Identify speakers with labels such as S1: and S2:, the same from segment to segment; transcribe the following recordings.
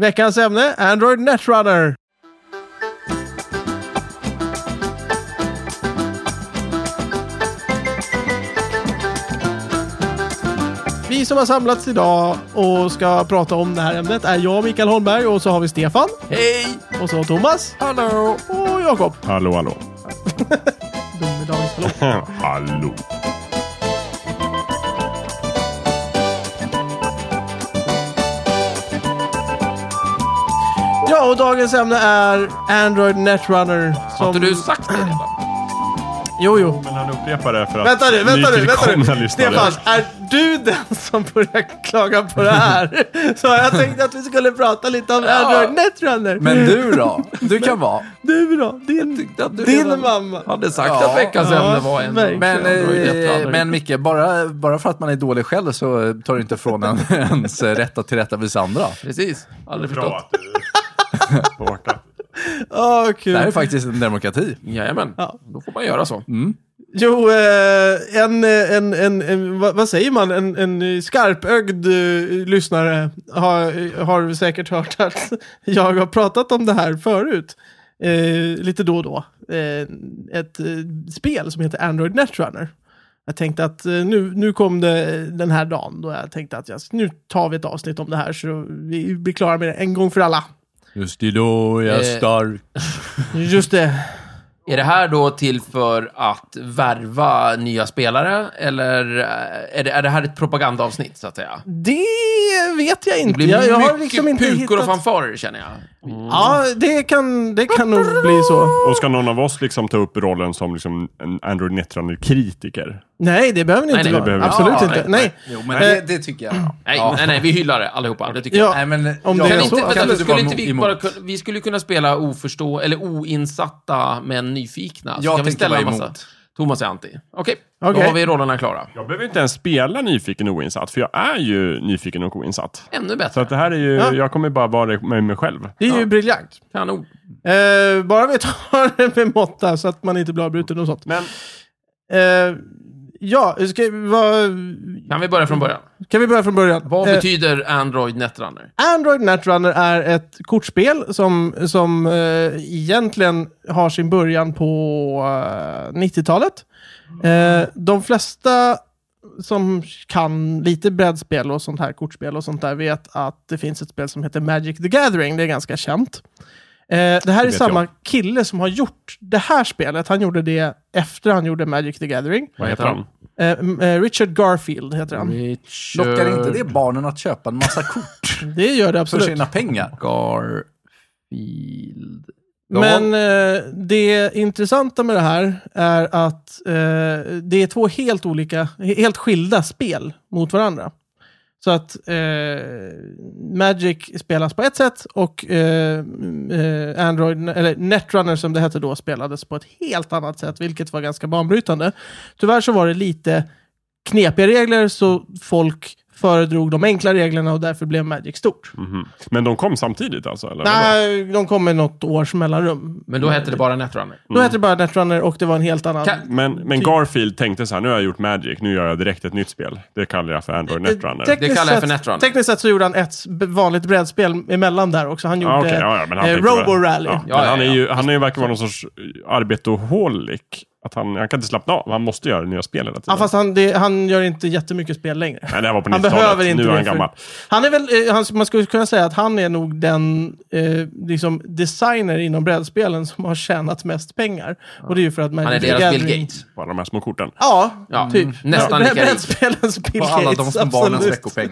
S1: Veckans ämne, Android Netrunner. Vi som har samlats idag och ska prata om det här ämnet är jag, Mikael Holmberg, och så har vi Stefan,
S2: Hej!
S1: och så Thomas
S2: Hallå!
S1: och Jakob.
S3: Hallå, hallå.
S1: Domedagens förlopp.
S3: hallå.
S1: Ja, och dagens ämne är Android Netrunner. Som...
S2: Har inte du sagt det redan?
S1: Jo, jo.
S3: Men han upprepar det för att
S1: Vänta nu, vänta nu, vänta
S3: nytillkomna
S1: nu.
S3: lyssnare-
S1: Stefan, är du den som börjar klaga på det här? Så jag tänkte att vi skulle prata lite om Android Netrunner.
S2: Men du då? Du kan vara.
S1: Du då? Din,
S2: Tyckte att du
S1: din
S2: redan
S1: mamma.
S2: Hade sagt
S4: Ja.
S2: att veckans
S1: Ja,
S2: ämne var en.
S1: verkligen.
S4: Men,
S2: Det var ju jätteallvarligt.
S4: eh, men Micke, bara, bara för att man är dålig själv så eh, tar du inte från en, ens eh, rätt att tillrättavisa andra.
S2: Precis. Aldrig
S3: Bra
S2: förstått.
S3: att du supportar.
S1: Åh, kul.
S4: Det här är faktiskt en demokrati.
S2: Jajamän.
S1: Ja.
S2: Då får man göra så.
S1: Jo, eh, en, en, en, en vad, vad säger man, en, en skarpögd eh, lyssnare har, har säkert hört att jag har pratat om det här förut. Eh, lite då och då. Eh, ett eh, spel som heter Android Netrunner. Jag tänkte att eh, nu, nu kom det den här dagen då jag tänkte att jag, nu tar vi ett avsnitt om det här så vi blir klara med det en gång för alla.
S4: Just idag är
S2: jag Eh.
S4: stark.
S1: Just det.
S2: Är det här då till för att värva nya spelare? Eller eh, är det, är det här ett propagandaavsnitt, så att säga?
S1: Det vet jag inte.
S2: Det blir
S1: jag, jag har
S2: mycket
S1: liksom inte
S2: pukor
S1: hittat...
S2: och fanfarer, känner jag.
S1: Ja, det kan, det kan nog bli så.
S3: Och ska någon av oss liksom ta upp rollen som liksom en Android Netrunner-kritiker?
S1: Nej, det behöver ni
S2: Nej,
S1: inte
S2: nej,
S1: vara.
S3: det behöver
S1: Absolut
S3: vi
S2: inte.
S1: inte.
S2: Ja,
S1: Nej.
S4: Jo, men det, det tycker jag.
S2: Nej,
S4: Ja.
S2: nej, nej, vi hyllar det allihopa. Det tycker jag.
S1: Ja,
S4: Nej, men
S1: Om
S4: jag
S1: det är
S2: Kan
S1: så,
S2: inte,
S4: kan
S2: vänta,
S4: inte
S2: skulle
S4: vara
S2: inte vi,
S4: emot.
S2: bara, kunna- vi skulle kunna spela oförstå, eller oinsatta men nyfikna. Så
S4: Jag
S2: kan vi
S4: tänker
S2: ställa
S4: vara
S2: en massa.
S4: emot.
S2: Thomas är anti. Okej, då
S1: Okej.
S2: har vi rollerna klara.
S3: Jag behöver inte ens spela nyfiken och oinsatt, för jag är ju nyfiken och oinsatt.
S2: Ännu
S3: Så
S2: bättre.
S3: att det här är ju,
S1: Ja.
S3: jag kommer bara vara med mig själv.
S1: Det är ju briljant.
S2: Kanon.
S1: Eh, bara vi tar det med måtta så att man inte blir avbruten och sånt.
S3: Men
S1: Eh, ja, ska, vad-
S2: Kan vi börja från början?
S1: kan vi börja från början?
S2: Vad
S1: Eh,
S2: betyder Android Netrunner?
S1: Android Netrunner är ett kortspel som, som eh, egentligen har sin början på eh, 90-talet. Eh, de flesta som kan lite brädspel och sånt här kortspel och sånt där vet att det finns ett spel som heter Magic the Gathering. Det är ganska känt. Eh, det här är
S3: vet
S1: samma kille som har gjort det här spelet. Han gjorde det efter han gjorde Magic the Gathering.
S3: vad heter han?
S1: Eh, m- eh, Richard Garfield heter
S2: Mm.
S1: han.
S2: Richard
S4: Lockar inte det barnen att köpa en massa kort
S1: Det gör det
S4: för
S1: absolut.
S4: sina pengar?
S2: Garfield.
S1: Men eh, det intressanta med det här är att eh, det är två helt olika, helt skilda spel mot varandra. Så att eh, Magic spelas på ett sätt och eh, eh, Android, eller Netrunner som det hette då spelades på ett helt annat sätt, vilket var ganska banbrytande. Tyvärr så var det lite knepiga regler så folk föredrog de enkla reglerna och därför blev Magic stort.
S3: Mhm. Men de kom samtidigt alltså? Eller?
S1: Nej, de kom med något års mellanrum.
S2: Men då hette det bara Netrunner.
S1: Då
S3: Mm.
S1: hette det bara Netrunner och det var en helt annan...
S2: Kan-
S3: Men, men Garfield tänkte så här, nu har jag gjort Magic, nu gör jag direkt ett nytt spel. Det kallar jag för Android
S1: Eh,
S3: Netrunner.
S1: Tekniskt
S2: Det kallar jag för
S1: sett-
S2: Netrunner.
S1: Tekniskt sett så gjorde han ett b- vanligt brädspel emellan där också. Han gjorde
S3: Ah, okej, ja, ja, men han
S1: eh,
S3: tänkte väl-
S1: Roborally.
S3: Ja,
S2: Ja,
S3: men
S2: ja,
S3: han, är
S2: ja.
S3: ju, han är ju verkar vara någon sorts eh, arbetoholic. Att han, han kan inte slappna av, han måste göra nya spel hela tiden.
S1: Ja, fast han, det, han gör inte jättemycket spel längre.
S3: Nej, det här var på
S1: Han behöver
S3: 90-talet,
S1: inte
S3: nu är
S1: det
S3: han
S1: för-
S3: gammal.
S1: Han är väl, eh, han, man skulle kunna säga att han är nog den eh, liksom designer inom brädspelen som har tjänat mest pengar. Och det är ju för att Magic
S2: Han är
S1: the
S2: deras Bill
S1: Gathering-
S2: Gates.
S3: Bara de här små korten.
S1: Ja,
S2: Ja, Mm.
S1: typ.
S2: nästan
S1: Brä-
S2: lika rik.
S1: Brädspelens Bill
S4: På alla de
S1: Gates,
S4: som barnens
S1: absolut.
S4: veckopeng.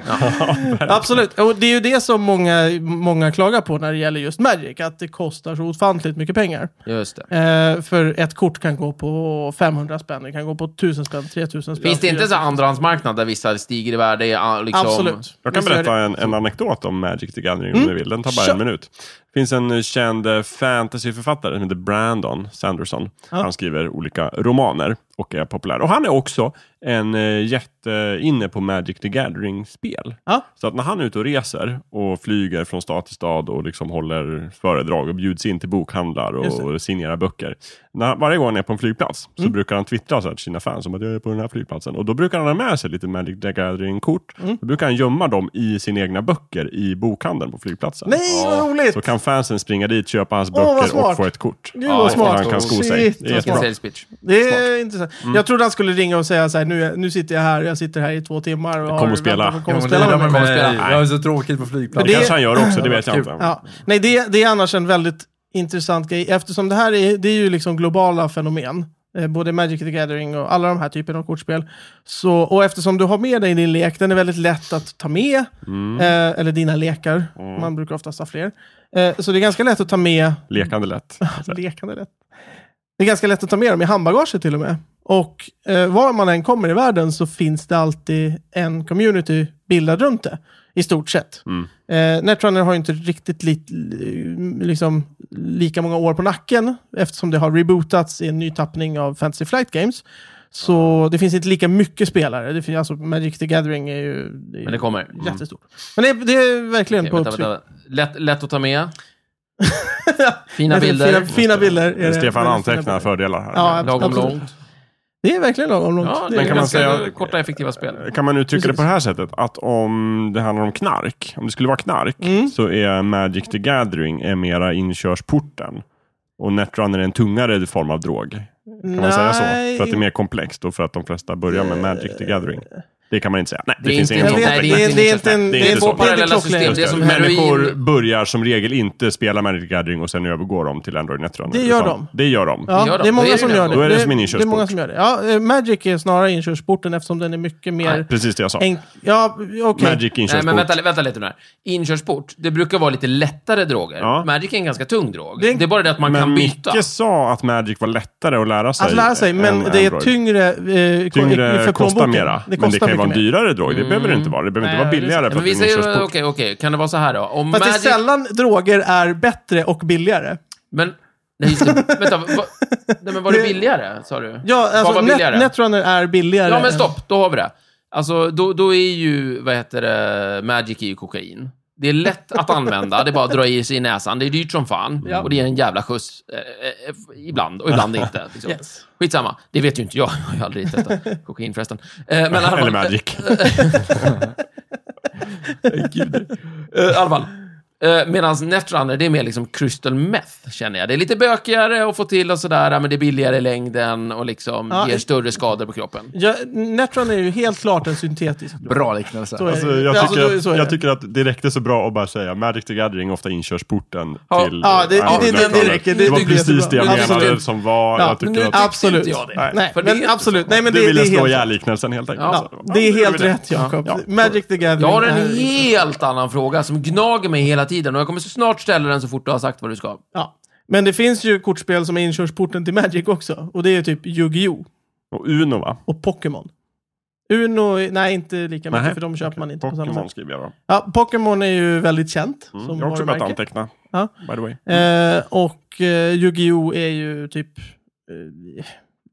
S1: Absolut, och det är ju det som många, många klagar på när det gäller just Magic, att det kostar så ofantligt mycket pengar.
S2: Just det.
S1: Eh, för ett kort kan gå på 500 spänn, det kan gå på 1000 spänn, 3000 spänn.
S2: Finns det inte så här andrahandsmarknad där vissa stiger i värde? ja, Liksom,
S1: Absolut.
S3: Jag kan
S1: Visst är
S3: berätta
S1: det. Mm.
S3: en, en anekdot om Magic the Gathering om du vill. Den tar bara
S1: Kör.
S3: en minut. finns en eh, känd eh, fantasyförfattare som heter Brandon Sanderson. Han skriver olika romaner och är populär. Och han är också en eh, jätte inne på Magic the Gathering-spel.
S1: Ja.
S3: Så att när han är ute och reser och flyger från stad till stad och liksom håller föredrag och bjuds in till bokhandlar
S1: Just det. Mm.
S3: och signerar böcker. När, han- varje gång han är på en flygplats så brukar han twittra så här till sina fans om att jag är på den här flygplatsen. Och då brukar han ha med sig lite Magic the Gathering-kort.
S1: Mm.
S3: Då brukar han gömma dem i sina egna böcker i bokhandeln på flygplatsen.
S1: Nej, vad roligt!
S3: Så kan fansen springa dit, köpa hans
S1: vad
S3: böcker och
S1: smart.
S3: få ett kort.
S1: Gud vad
S2: Ja,
S1: smart.
S3: Han kan sko sig.
S1: Shit,
S3: Det
S1: vad
S3: är
S2: Vilken
S3: jättebra.
S1: smart.
S2: sales pitch.
S1: Det är intressant.
S3: Mm.
S1: Jag trodde han skulle ringa och säga så här, nu, är- nu sitter jag här, jag sitter här i två timmar. Och
S3: Kom
S1: har-
S3: och spela.
S1: väntar på- Kom
S4: Ja,
S1: och
S4: men
S1: spela
S4: lirar
S1: med
S4: man
S1: mig.
S4: med
S2: mig.
S4: mig. Jag är så tråkigt på flygplatsen.
S3: Det
S1: Det-
S3: kanske han gör också, det vet jag
S4: Kul.
S3: inte.
S1: Ja. Nej, det, det är annars en väldigt intressant grej, eftersom det här är, det är ju liksom globala fenomen. Eh, Både Magic the Gathering och alla de här typerna av kortspel. Så, och eftersom du har med dig din lek, den är väldigt lätt att ta med. Eh, eller dina lekar, man brukar oftast ha fler. Eh, så det är ganska lätt att ta med alltså,
S3: Lekande lätt.
S1: Lekande lätt. Det är ganska lätt att ta med dem i handbagaget till och med. Och eh, var man än kommer i världen så finns det alltid en community bildad runt det. I stort sett.
S3: Mm.
S1: Eh, Netrunner har ju inte riktigt li, li- liksom, lika många år på nacken eftersom det har rebootats i en ny tappning av Fantasy Flight Games. Så det finns inte lika mycket spelare. Det finns, alltså, Magic the Gathering är ju det är
S2: Men det kommer. Mm.
S1: jättestort. Men det, det är verkligen
S2: Okej,
S1: på
S2: vänta,
S1: uppsving.
S2: vänta. Lätt, lätt att ta med. Fina bilder.
S1: Fina, fina bilder. är det.
S3: Stefan
S1: Väldigt fina bilder.
S3: antecknar fördelar här.
S1: Ja,
S2: Lagom
S1: absolut.
S2: långt.
S1: Det är verkligen lagom långt.
S2: Ja,
S1: det
S2: men
S1: är
S2: kan man
S1: ganska-
S2: säga
S3: säga-
S2: korta effektiva spel.
S3: Kan man uttrycka det
S1: Precis.
S3: på det här sättet? Att om det handlar om knark, om det skulle vara knark,
S1: Mm.
S3: så är Magic the Gathering är mera inkörsporten. Och Netrunner är en tungare form av drog. Kan man säga så?
S1: Nej.
S3: För att det är mer komplext och för att de flesta börjar med Magic the Gathering. Det kan man inte säga. Nej, det,
S2: Det är
S3: finns
S2: inte-
S3: ingen
S1: Jag
S3: sån
S1: vet,
S2: Nej,
S3: koppling.
S2: det är
S1: det, är,
S2: inte
S1: det är inte
S2: intressant.
S1: en...
S3: Det är
S1: Det är
S3: inte
S1: två
S3: så.
S1: parallella
S2: Parallella
S1: system.
S2: system.
S1: Det,
S2: är som
S3: Människor
S2: heroin.
S3: börjar som regel inte spela Magic the Gathering och sen övergår de till Android Netrunner.
S1: Det gör
S3: utan-
S1: de.
S3: Det gör de.
S1: ja,
S2: gör
S1: det
S2: de.
S1: är många
S2: Det är
S1: som
S2: det.
S1: gör det.
S3: Då är det som en
S1: Det är många
S3: inkörsport.
S1: som gör det. Ja, eh, Magic är snarare inkörsporten eftersom den är mycket mer...
S3: Precis det jag sa.
S1: enk- ja, okej.
S3: Magic
S2: Nej,
S3: inkörsport.
S2: men vänta, vänta lite nu här. Inkörsport, det brukar vara lite lättare droger.
S3: Ja.
S2: Magic är en ganska tung drog.
S1: Det
S2: Det
S1: är-
S2: är, bara det att man
S3: Men
S2: kan byta.
S3: Micke sa att Magic var lättare att lära sig.
S1: Att lära sig,
S3: än
S1: men det är
S3: Typ Android.
S1: tyngre, eh,
S3: Tyngre
S1: för
S3: kostar
S1: plånboken.
S3: mera.
S1: Det
S3: men det
S1: kostar
S3: kan ju vara en
S1: mycket mer.
S3: dyrare drog. Det behöver det inte vara. Det behöver inte
S1: Nej,
S3: vara billigare
S2: Men
S3: för att det
S2: vi
S3: är en
S2: säger, okej,
S3: inkörsport.
S2: okej, kan det vara så här då? Om
S1: Fast
S2: Magic...
S1: det är sällan droger är bättre och billigare.
S2: Men, nej, just det. vänta, va, nej, men var det billigare, sa du?
S1: Ja, alltså
S2: var
S1: net,
S2: billigare?
S1: Netrunner är billigare.
S2: Ja, men
S1: än-
S2: stopp, då har vi det. Alltså, då, då är ju, vad heter det, Magic är ju kokain. Det är lätt att använda, det är bara att dra i sig i näsan. Det är dyrt som fan och det är en jävla skjuts. Eh, eh, ibland och ibland inte. Liksom.
S1: Yes.
S2: Skitsamma, det vet ju inte jag. Jag har ju aldrig testat kokain förresten. Eh, men i alla fall-
S3: Eller Magic.
S2: Eh, I alla fall. Eh, Medan Netrunner, det är mer liksom crystal meth, känner jag. Det är lite bökigare att få till och sådär, men det är billigare i längden och liksom
S1: Ja,
S2: ger
S1: i-
S2: större skador på kroppen.
S1: Ja, Netrunner är ju helt klart en syntetisk drog.
S4: Bra
S1: Så är
S4: liknelse.
S1: det.
S3: Alltså, jag,
S1: Alltså,
S3: tycker
S1: så-
S3: att,
S1: så är
S3: jag
S1: det.
S3: tycker att det räckte så bra att bara säga Magic the Gathering är ofta inkörsporten
S2: Ja.
S3: till...
S1: Ja, det- det-
S3: eh,
S1: det- det- det
S3: Netrunner.
S1: räcker. Det
S3: Det var
S1: tycker jag är så
S3: precis det jag
S1: bra. Ja,
S3: menade
S1: absolut.
S3: som
S1: Ja,
S3: var... jag
S2: men
S3: tycker
S2: nu-
S3: att,
S1: Absolut.
S2: inte jag det.
S1: Nej,
S2: För det är
S1: men
S2: inte
S1: absolut. Nej, men
S3: du
S1: det, det
S3: ville
S1: är
S3: slå
S1: helt
S3: ihjäl liknelsen helt enkelt. Alltså,
S1: Ja,
S3: Så-
S1: det är
S3: då gör vi
S1: helt rätt Jakob.
S3: Ja.
S1: Magic the Gathering
S2: Jag har en
S1: är-
S2: helt annan fråga som gnager mig hela tiden och jag kommer så snart ställa den så fort du har sagt vad du ska.
S1: Ja. Men det finns ju kortspel som är inkörsporten till Magic också. Och det är ju typ Yu-Gi-Oh!
S3: Och Uno va?
S1: och Pokémon. Uno, är- nej inte lika mycket
S3: Nej.
S1: för de köper man inte på samma
S3: Pokémon
S1: sätt.
S3: skriver jag då.
S1: Ja, Pokémon är ju väldigt känt.
S3: Mm.
S1: Som
S3: Jag har också börjat
S1: varumärke.
S3: anteckna.
S1: Ja.
S3: By the way.
S1: Eh, och eh, Yu-Gi-Oh! är ju typ... Eh,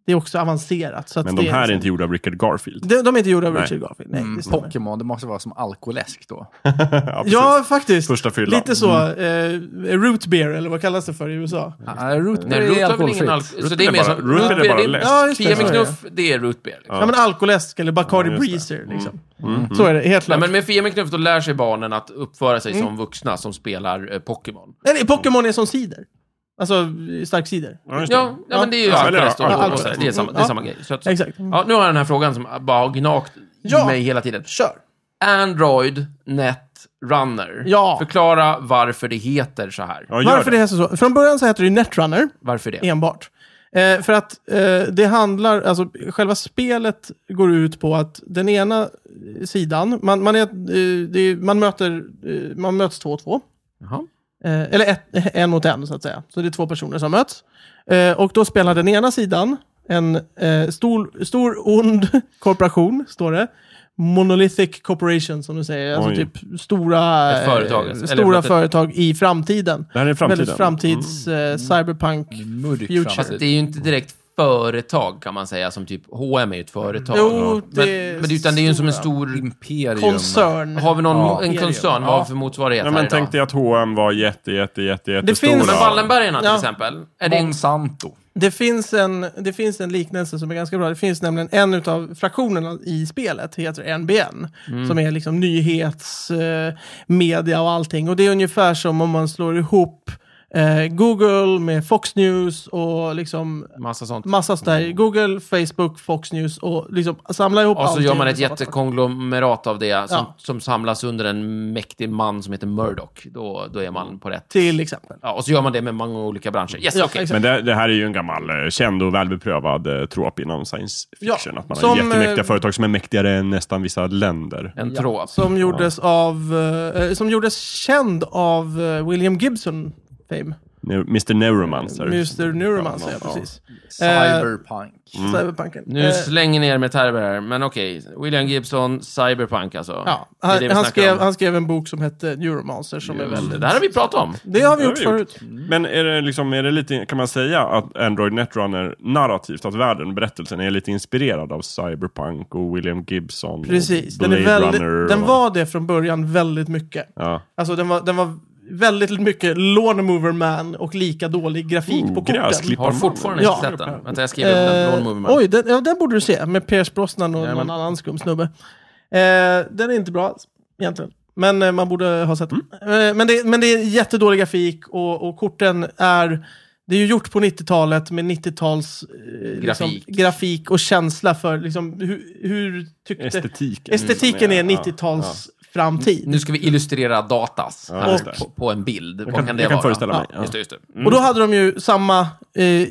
S1: det är också avancerat. Så att
S3: Men de
S1: det
S3: här är
S1: liksom-
S3: inte gjorda av Richard Garfield.
S1: De, de är inte gjorda av
S3: Nej.
S1: Richard Garfield. Nej, det
S4: Mm,
S1: stämmer.
S4: Pokémon, det måste vara som alkoläsk då.
S3: ja, precis.
S1: Ja, faktiskt.
S3: Första fyllan. Mm.
S1: Lite så. Eh, root beer, eller vad kallas det för i USA?
S4: Ah, root
S2: Nej,
S4: beer är
S2: root har väl ingen
S4: alkoholfritt.
S2: alkohol... Så det är
S3: är
S2: mer
S3: bara-
S2: som...
S3: root beer är
S2: root beer,
S3: bara
S2: det
S3: läsk.
S1: Ja, just det,
S2: Fia
S1: så
S2: med
S1: är
S2: knuff, det är root beer. Liksom.
S1: Ja, men alkoläsk eller Bacardi
S3: Ja, just det. Mm.
S1: Breezer liksom. Så är det, helt
S2: Nej,
S1: klart.
S2: men med Fia med knuff, då lär sig barnen att uppföra
S1: Mm.
S2: sig som vuxna som spelar eh, Pokémon.
S1: Nej, nej, Pokémon är som cider. Alltså stark cider.
S3: Ja, just det.
S2: Ja, ja, men det är ju
S3: Ja, eller
S2: alkoläsk och,
S3: ja,
S2: och,
S1: alkoläsk.
S2: sådär. det är samma, det är
S1: Ja.
S2: samma grej. Så att,
S1: Exakt.
S2: ja, nu har jag den här frågan som bara har gnagt
S1: Ja.
S2: i mig hela tiden.
S1: Kör!
S2: Android Net Runner.
S1: Ja.
S2: Förklara varför det heter så här.
S3: Ja, gör
S1: Varför det heter så? Från början så heter det ju Netrunner
S2: Varför det?
S1: enbart. Eh, för att eh, det handlar, alltså själva spelet går ut på att den ena sidan, man, man, är, ett, eh, det är, man, möter, eh, man möts två och två.
S2: Jaha.
S1: Eh, eller ett, en mot en, så att säga. Så det är två personer som möts. Eh, och då spelar den ena sidan en eh, stor, stor ond korporation, står det, Monolithic Corporation som du säger. Alltså
S3: Oj.
S1: typ stora,
S2: Ett företag,
S1: eh,
S2: eller
S1: stora
S2: förlåt, ett-
S1: företag i framtiden.
S3: Det här är framtiden.
S1: Väldigt framtids
S2: Mm.
S1: eh, cyberpunk.
S4: Murk
S1: Future.
S4: framtid.
S2: Fast det är ju inte direkt företag kan man säga, som typ H&M är ju ett företag.
S1: Jo,
S2: men,
S1: det är
S2: men utan det är ju som en
S1: stora.
S2: stor...
S4: Imperium.
S1: Koncern.
S2: Har vi någon,
S4: Ja.
S2: en koncern? Vad har vi för motsvarighet
S3: Nej,
S2: här
S3: men
S2: idag?
S3: tänk dig att H&M var jätte, jätte, jätte, jättestora.
S1: finns-
S2: Men Wallenbergarna till
S1: Ja.
S2: exempel. Är det en...
S4: Monsanto.
S1: Det finns, en, det finns en liknelse som är ganska bra. Det finns nämligen en av fraktionerna i spelet, heter NBN.
S2: Mm.
S1: Som är liksom nyhets, eh, media och allting. Och det är ungefär som om man slår ihop eh, Google med Fox News och liksom
S2: Massa sånt.
S1: massa sådär. Google, Facebook, Fox News och liksom samlar ihop
S2: Och så
S1: allting.
S2: gör man ett jättekonglomerat av det som,
S1: Ja.
S2: som samlas under en mäktig man som heter Murdoch. Då, då är man på rätt...
S1: Till exempel.
S2: Ja, och så gör man det med många olika branscher. Yes,
S1: Ja,
S2: okej.
S1: exakt.
S3: Men det, det här är ju en gammal eh, känd och välbeprövad eh, trop inom science fiction.
S1: Ja,
S3: att man
S1: som,
S3: har jättemäktiga
S1: eh,
S3: företag som är mäktigare än nästan vissa länder.
S2: En tråd.
S1: Som gjordes av, eh, som gjordes känd av eh, William Gibson. Fame.
S3: Ne- Mr Neuromancer.
S1: Mr. Neuromancer, ja,
S3: Ja.
S1: precis.
S4: Eh, Cyberpunk.
S1: Eh, Cyberpunken.
S2: Mm. Nu
S1: Eh,
S2: slänger ni er med termer här, men okej. William Gibson, Cyberpunk alltså.
S1: Ja,
S2: Det är det
S1: han,
S2: vi
S1: han,
S2: snackar
S1: skrev,
S2: om.
S1: han skrev en bok som hette Neuromancer som är väldigt...
S2: Det här har vi pratat om.
S1: Det har vi
S3: Det har
S1: gjort
S3: vi gjort.
S1: förut.
S3: Men är det, liksom, är det lite, kan man säga att Android Netrunner narrativt, att världen, berättelsen, är lite inspirerad av Cyberpunk och William Gibson?
S1: Precis.
S3: Och
S1: Den,
S3: Blade
S1: är väldigt,
S3: Runner.
S1: den
S3: och-
S1: var det från början väldigt mycket.
S3: Ja.
S1: Alltså den var, den var väldigt mycket lawn mover man och lika dålig grafik
S3: Oh,
S1: på korten.
S3: gräsklipp.
S2: Har fortfarande
S1: Ja.
S2: inte sett den. Vänta, jag skriver upp den.
S1: Eh,
S2: Blond Movie Man.
S1: oj, den, ja, den borde du se. Med Pierce Brosnan och någon annan skum snubbe. Eh, den är inte bra alls, egentligen. Men eh, man borde ha sett den.
S2: Mm.
S1: Eh, men, det, men det är jättedålig grafik och, och korten är... Det är ju gjort på 90-talet med 90-tals eh,
S2: Grafik.
S1: Liksom, grafik och känsla för liksom, hur, hur tyckte...
S3: Estetiken. liksom,
S1: Estetiken är
S3: Ja,
S1: 90-tals framtid.
S2: Nu ska vi illustrera datas
S3: Ja,
S2: här
S3: just det.
S2: på, på en bild. Vad
S3: kan-
S2: kan det
S3: jag kan
S2: vara?
S3: föreställa mig,
S2: Ja.
S3: ja.
S2: Just det, just det. Mm.
S1: Och då hade de ju samma eh,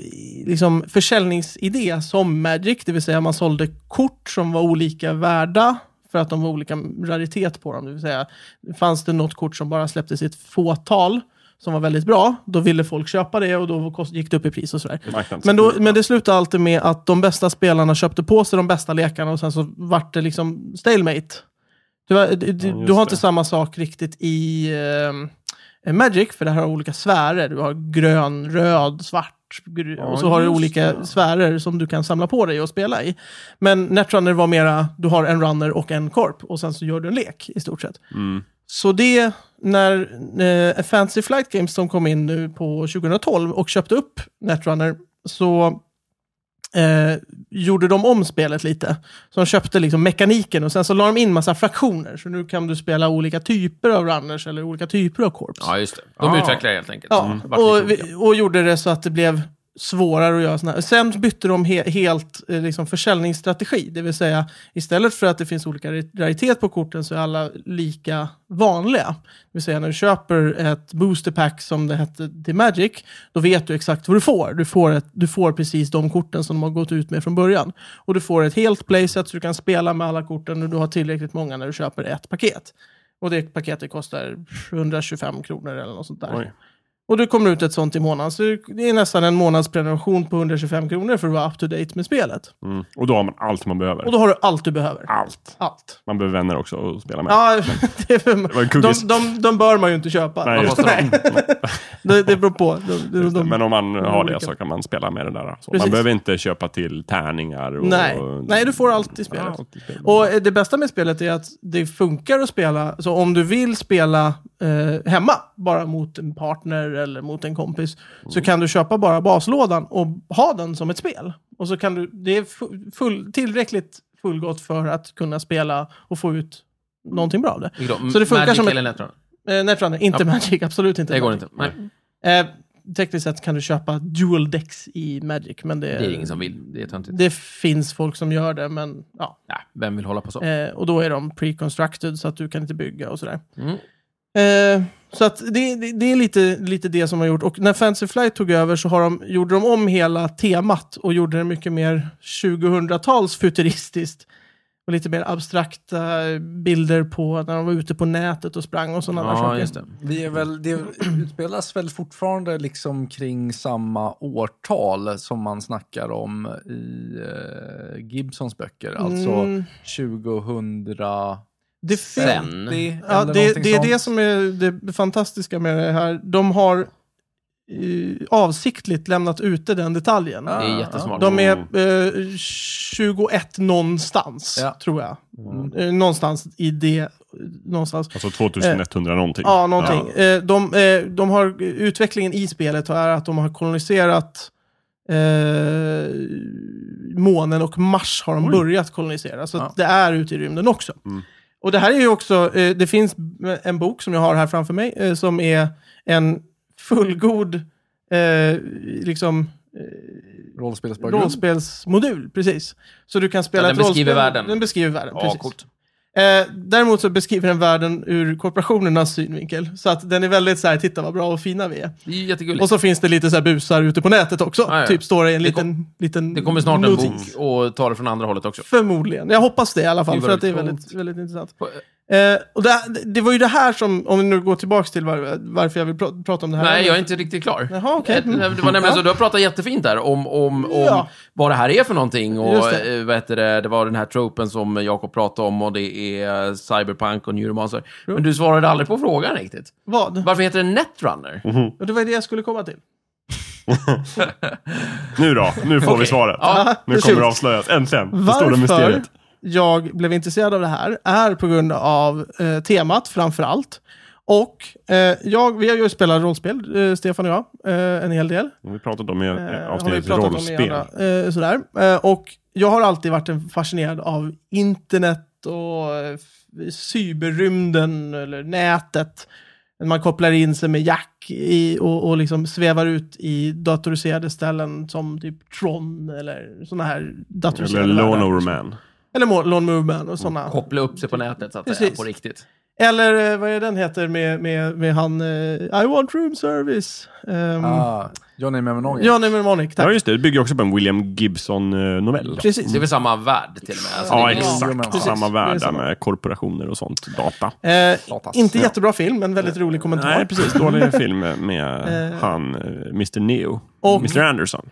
S1: liksom försäljningsidé som Magic, det vill säga man sålde kort som var olika värda för att de var olika raritet på dem. Det vill säga, fanns det något kort som bara släpptes i ett fåtal som var väldigt bra, då ville folk köpa det och då kost- gick det upp i pris och sådär.
S3: Marknads-
S1: Men, då, men det slutade alltid med att de bästa spelarna köpte på sig de bästa lekarna och sen så vart det liksom stalemate. Du, har- du, du,
S3: just
S1: du har
S3: det.
S1: inte samma sak riktigt i eh, Magic, för det här har olika sfärer. Du har grön, röd, svart. gr-
S3: Ja,
S1: och så har du
S3: just
S1: olika
S3: det.
S1: sfärer som du kan samla på dig och spela i. Men Netrunner var mera, du har en runner och en korp och sen så gör du en lek i stort sett.
S3: Mm.
S1: Så det, när eh, Fancy Flight Games som kom in nu på 2012 och köpte upp Netrunner, så eh, gjorde de om spelet lite. Så de köpte liksom mekaniken och sen så la de in massa fraktioner. Så nu kan du spela olika typer av runners eller olika typer av korps.
S2: Ja, just det. De
S3: Ah.
S2: utvecklar helt enkelt.
S1: Ja,
S2: Mm. Vart
S1: och,
S2: vi tog
S1: vi- och gjorde det så att det blev svårare att göra sådana här. Sen bytte de he helt eh, liksom försäljningsstrategi, det vill säga istället för att det finns olika ri- raritet på korten så är alla lika vanliga. Det vill säga när du köper ett boosterpack som det hette till Magic, då vet du exakt vad du får. Du får, ett, du får precis de korten som de har gått ut med från början. Och du får ett helt playset så du kan spela med alla korten och du har tillräckligt många när du köper ett paket. Och det paketet kostar 125 kronor eller något sånt där.
S3: Oj.
S1: Och det kommer ut ett sånt i månaden. Så det är nästan en månadsprenumeration på 125 kronor för att vara up to date med spelet.
S3: Mm. Ah. Och då har man allt man behöver.
S1: Och då har du allt du behöver.
S3: Allt.
S1: Allt.
S3: Man behöver vänner också att spela med.
S1: Ja, det är
S3: var en
S1: för,
S3: kuggis.
S1: de, de, de bör man ju inte köpa.
S3: Nej, just
S2: det.
S1: det, det beror på. De, de,
S3: Just det,
S1: de,
S3: men om man har
S1: olika.
S3: det så kan man spela med det där. Så
S1: Precis.
S3: man behöver inte köpa till tärningar. Och,
S1: nej. nej, du får
S2: Ah,
S1: allt i
S3: Ja,
S1: spelet.
S3: allt i spelet.
S1: Och eh, det bästa med spelet är att det funkar att spela, så om du vill spela eh, hemma, bara mot en partner eller mot en kompis,
S2: Mm.
S1: så kan du köpa bara baslådan och ha den som ett spel. Och så kan du, det är fu- full, tillräckligt fullgott för att kunna spela och få ut någonting bra av det.
S2: vi då.
S1: Så det funkar
S2: Magic
S1: som ett-
S2: eller Netrunner?
S1: Eh, Netrunner, inte Magic, absolut inte.
S2: Det går
S1: Magic.
S2: inte. Nej,
S1: Eh, tekniskt sett kan du köpa dual decks i Magic, men det,
S2: det är ingen som vill. Det är töntigt.
S1: det finns folk som gör det, men ja.
S2: Nej, vem vill hålla på så?
S1: Eh, och då är de pre-constructed så att du kan inte bygga och sådär.
S2: Mm.
S1: Eh, så att det, det, det är lite, lite det som har gjort. Och när Fancy Flight tog över så har de, gjorde de om hela temat och gjorde det mycket mer 2000-tals futuristiskt. Och lite mer abstrakta bilder på när de var ute på nätet och sprang och sådana där saker.
S2: just det.
S4: Vi är väl, det utspelas väl fortfarande liksom kring samma årtal som man snackar om i eh, Gibsons böcker. Alltså
S1: Mm.
S4: 2000...
S1: Det fin-
S2: Sen.
S1: Ja, det, det är det som är det fantastiska med det här. De har eh, avsiktligt lämnat ute den detaljen.
S2: Det
S4: Ja,
S2: är jättesmart.
S1: Ah, De är eh, 21 någonstans,
S4: Ja.
S1: tror jag. Eh, någonstans i det... Någonstans.
S3: Alltså 2100 någonting.
S1: Ja, någonting. Eh, de, eh, de har, utvecklingen i spelet är att de har koloniserat eh, månen och Mars har de börjat kolonisera. Så att det är ute i rymden också. Och det här är ju också, eh, det finns en bok som jag har här framför mig eh, som är en fullgod eh, liksom,
S4: Rollspelsbakgrund.
S1: rollspelsmodul. Precis. Så du kan spela
S2: Ja, den
S1: ett rollspel.
S2: beskriver världen.
S1: Den beskriver världen,
S2: Ja,
S1: precis.
S2: coolt.
S1: Eh, däremot så beskriver den världen ur korporationernas synvinkel. Så att den är väldigt så här, titta vad bra och fina vi är.
S2: Det är ju jättegulligt.
S1: Och så finns det lite så här busar ute på nätet också.
S2: Ja, ja.
S1: Typ står det i en
S2: Det
S1: liten,
S2: kom-
S1: liten...
S2: det kommer snart en
S1: notis.
S2: bok och tar det från andra hållet också.
S1: Förmodligen. Jag hoppas det i alla fall,
S2: Gud,
S1: för
S2: vad
S1: att det är
S2: coolt.
S1: väldigt, väldigt intressant.
S2: På-
S1: Eh, och det, det var ju det här som, om vi nu går tillbaka till var, varför jag vill pra- prata om det här.
S2: Nej, jag är inte riktigt klar.
S1: Jaha, okej.
S2: Eh, Det var nämligen så, du har pratat jättefint där om, om, om
S1: Mm. Ja.
S2: vad det här är för någonting.
S1: Just
S2: Och,
S1: det.
S2: eh, vad heter det, det var den här tropen som Jakob pratade om och det är cyberpunk och neuromancer. Men du svarade aldrig på frågan riktigt.
S1: Vad?
S2: Varför heter den Netrunner?
S1: Och det var det jag skulle komma till.
S3: Nu då, nu får vi
S2: Okej.
S3: svaret.
S2: Ja,
S3: Nu kommer det avslöjas, äntligen. Det stora
S1: Varför
S3: mysteriet.
S1: jag blev intresserad av det här är på grund av eh, temat framför allt. Och eh, jag, vi har ju spelat rollspel, eh, Stefan och jag, eh, en hel del.
S3: Vi pratade om i
S1: Eh,
S3: eh,
S1: har vi
S3: avsnittet
S1: pratat om i
S3: rollspel.
S1: andra, eh, sådär. Eh, och jag har alltid varit en fascinerad av internet och eh, f- cyberrymden eller nätet. Man kopplar in sig med jack i, och, och liksom svävar ut i datoriserade ställen som typ Tron eller sådana här datoriserade
S3: Eller
S1: världar.
S3: Lone Over Man.
S1: Eller Mo- Lone Movement och sådana.
S2: Koppla upp sig på nätet så att säga,
S1: Precis.
S2: på riktigt.
S1: Eller eh, vad är den heter med, med, med han eh, I want room service. Um,
S4: Ah, Johnny Memnonogi.
S1: Johnny Mnemonic, tack.
S3: Ja, just det. Det bygger också på en William Gibson-novell.
S1: Precis.
S2: Det är väl samma värld till och med? Alltså,
S3: Ja,
S2: det är-
S3: exakt.
S4: Ja, precis.
S3: Samma
S1: Det är
S3: värld där
S1: samma.
S3: med korporationer och sånt. Data.
S1: Eh,
S4: Datas.
S1: inte jättebra film, men väldigt rolig kommentar.
S3: Nej, precis. Dålig film med han, eh, Mr. Neo.
S1: Och-
S3: Mr. Anderson.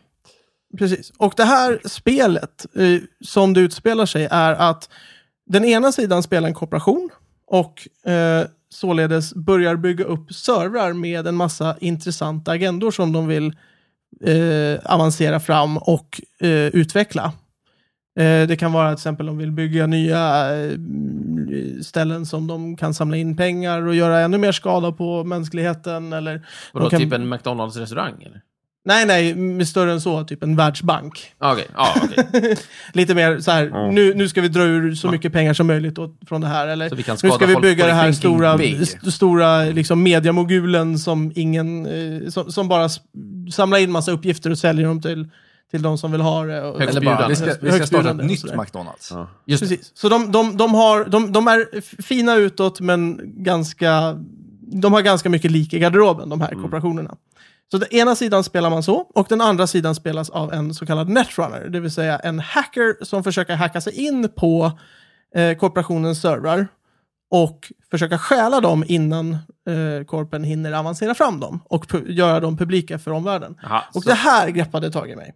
S1: Precis. Och det här spelet, eh, som det utspelar sig, är att den ena sidan spelar en korporation och eh, således börjar bygga upp servrar med en massa intressanta agendor som de vill eh, avancera fram och eh, utveckla. Eh, det kan vara till exempel de vill bygga nya eh, ställen som de kan samla in pengar och göra ännu mer skada på mänskligheten. Eller
S2: Vadå,
S1: de kan...
S2: typ en McDonalds-restaurang? eller?
S1: Nej, nej, m- större än så, typ en världsbank.
S2: Ah, Okej, ja, okej.
S1: Lite mer så här, nu, nu ska vi dra ur så mycket pengar som möjligt åt, från det här. Eller
S2: Så vi kan
S1: nu
S2: skada
S1: ska vi
S2: folk
S1: bygga
S2: by
S1: det här
S2: thinking
S1: stora,
S2: big.
S1: st stora liksom, mediamogulen som, ingen, eh, som, som bara s- samlar in massa uppgifter och säljer dem till, till de som vill ha det. Och,
S2: Högst-
S4: Eller bara, vi ska, vi ska starta
S1: Högstbjudande
S4: ett
S1: och
S4: nytt
S1: sådär.
S4: McDonalds.
S2: Just det.
S1: Precis. Så de, de, de, har, de, de är f- fina utåt, men ganska, de har ganska mycket lik i garderoben, de här
S2: Mm.
S1: korporationerna. Så den ena sidan spelar man så, och den andra sidan spelas av en så kallad netrunner, det vill säga en hacker som försöker hacka sig in på eh, korporationens servrar och försöka stjäla dem innan eh, korpen hinner avancera fram dem och pu- göra dem publika för omvärlden.
S2: Aha,
S1: och
S2: så-
S1: det här greppade tag i mig.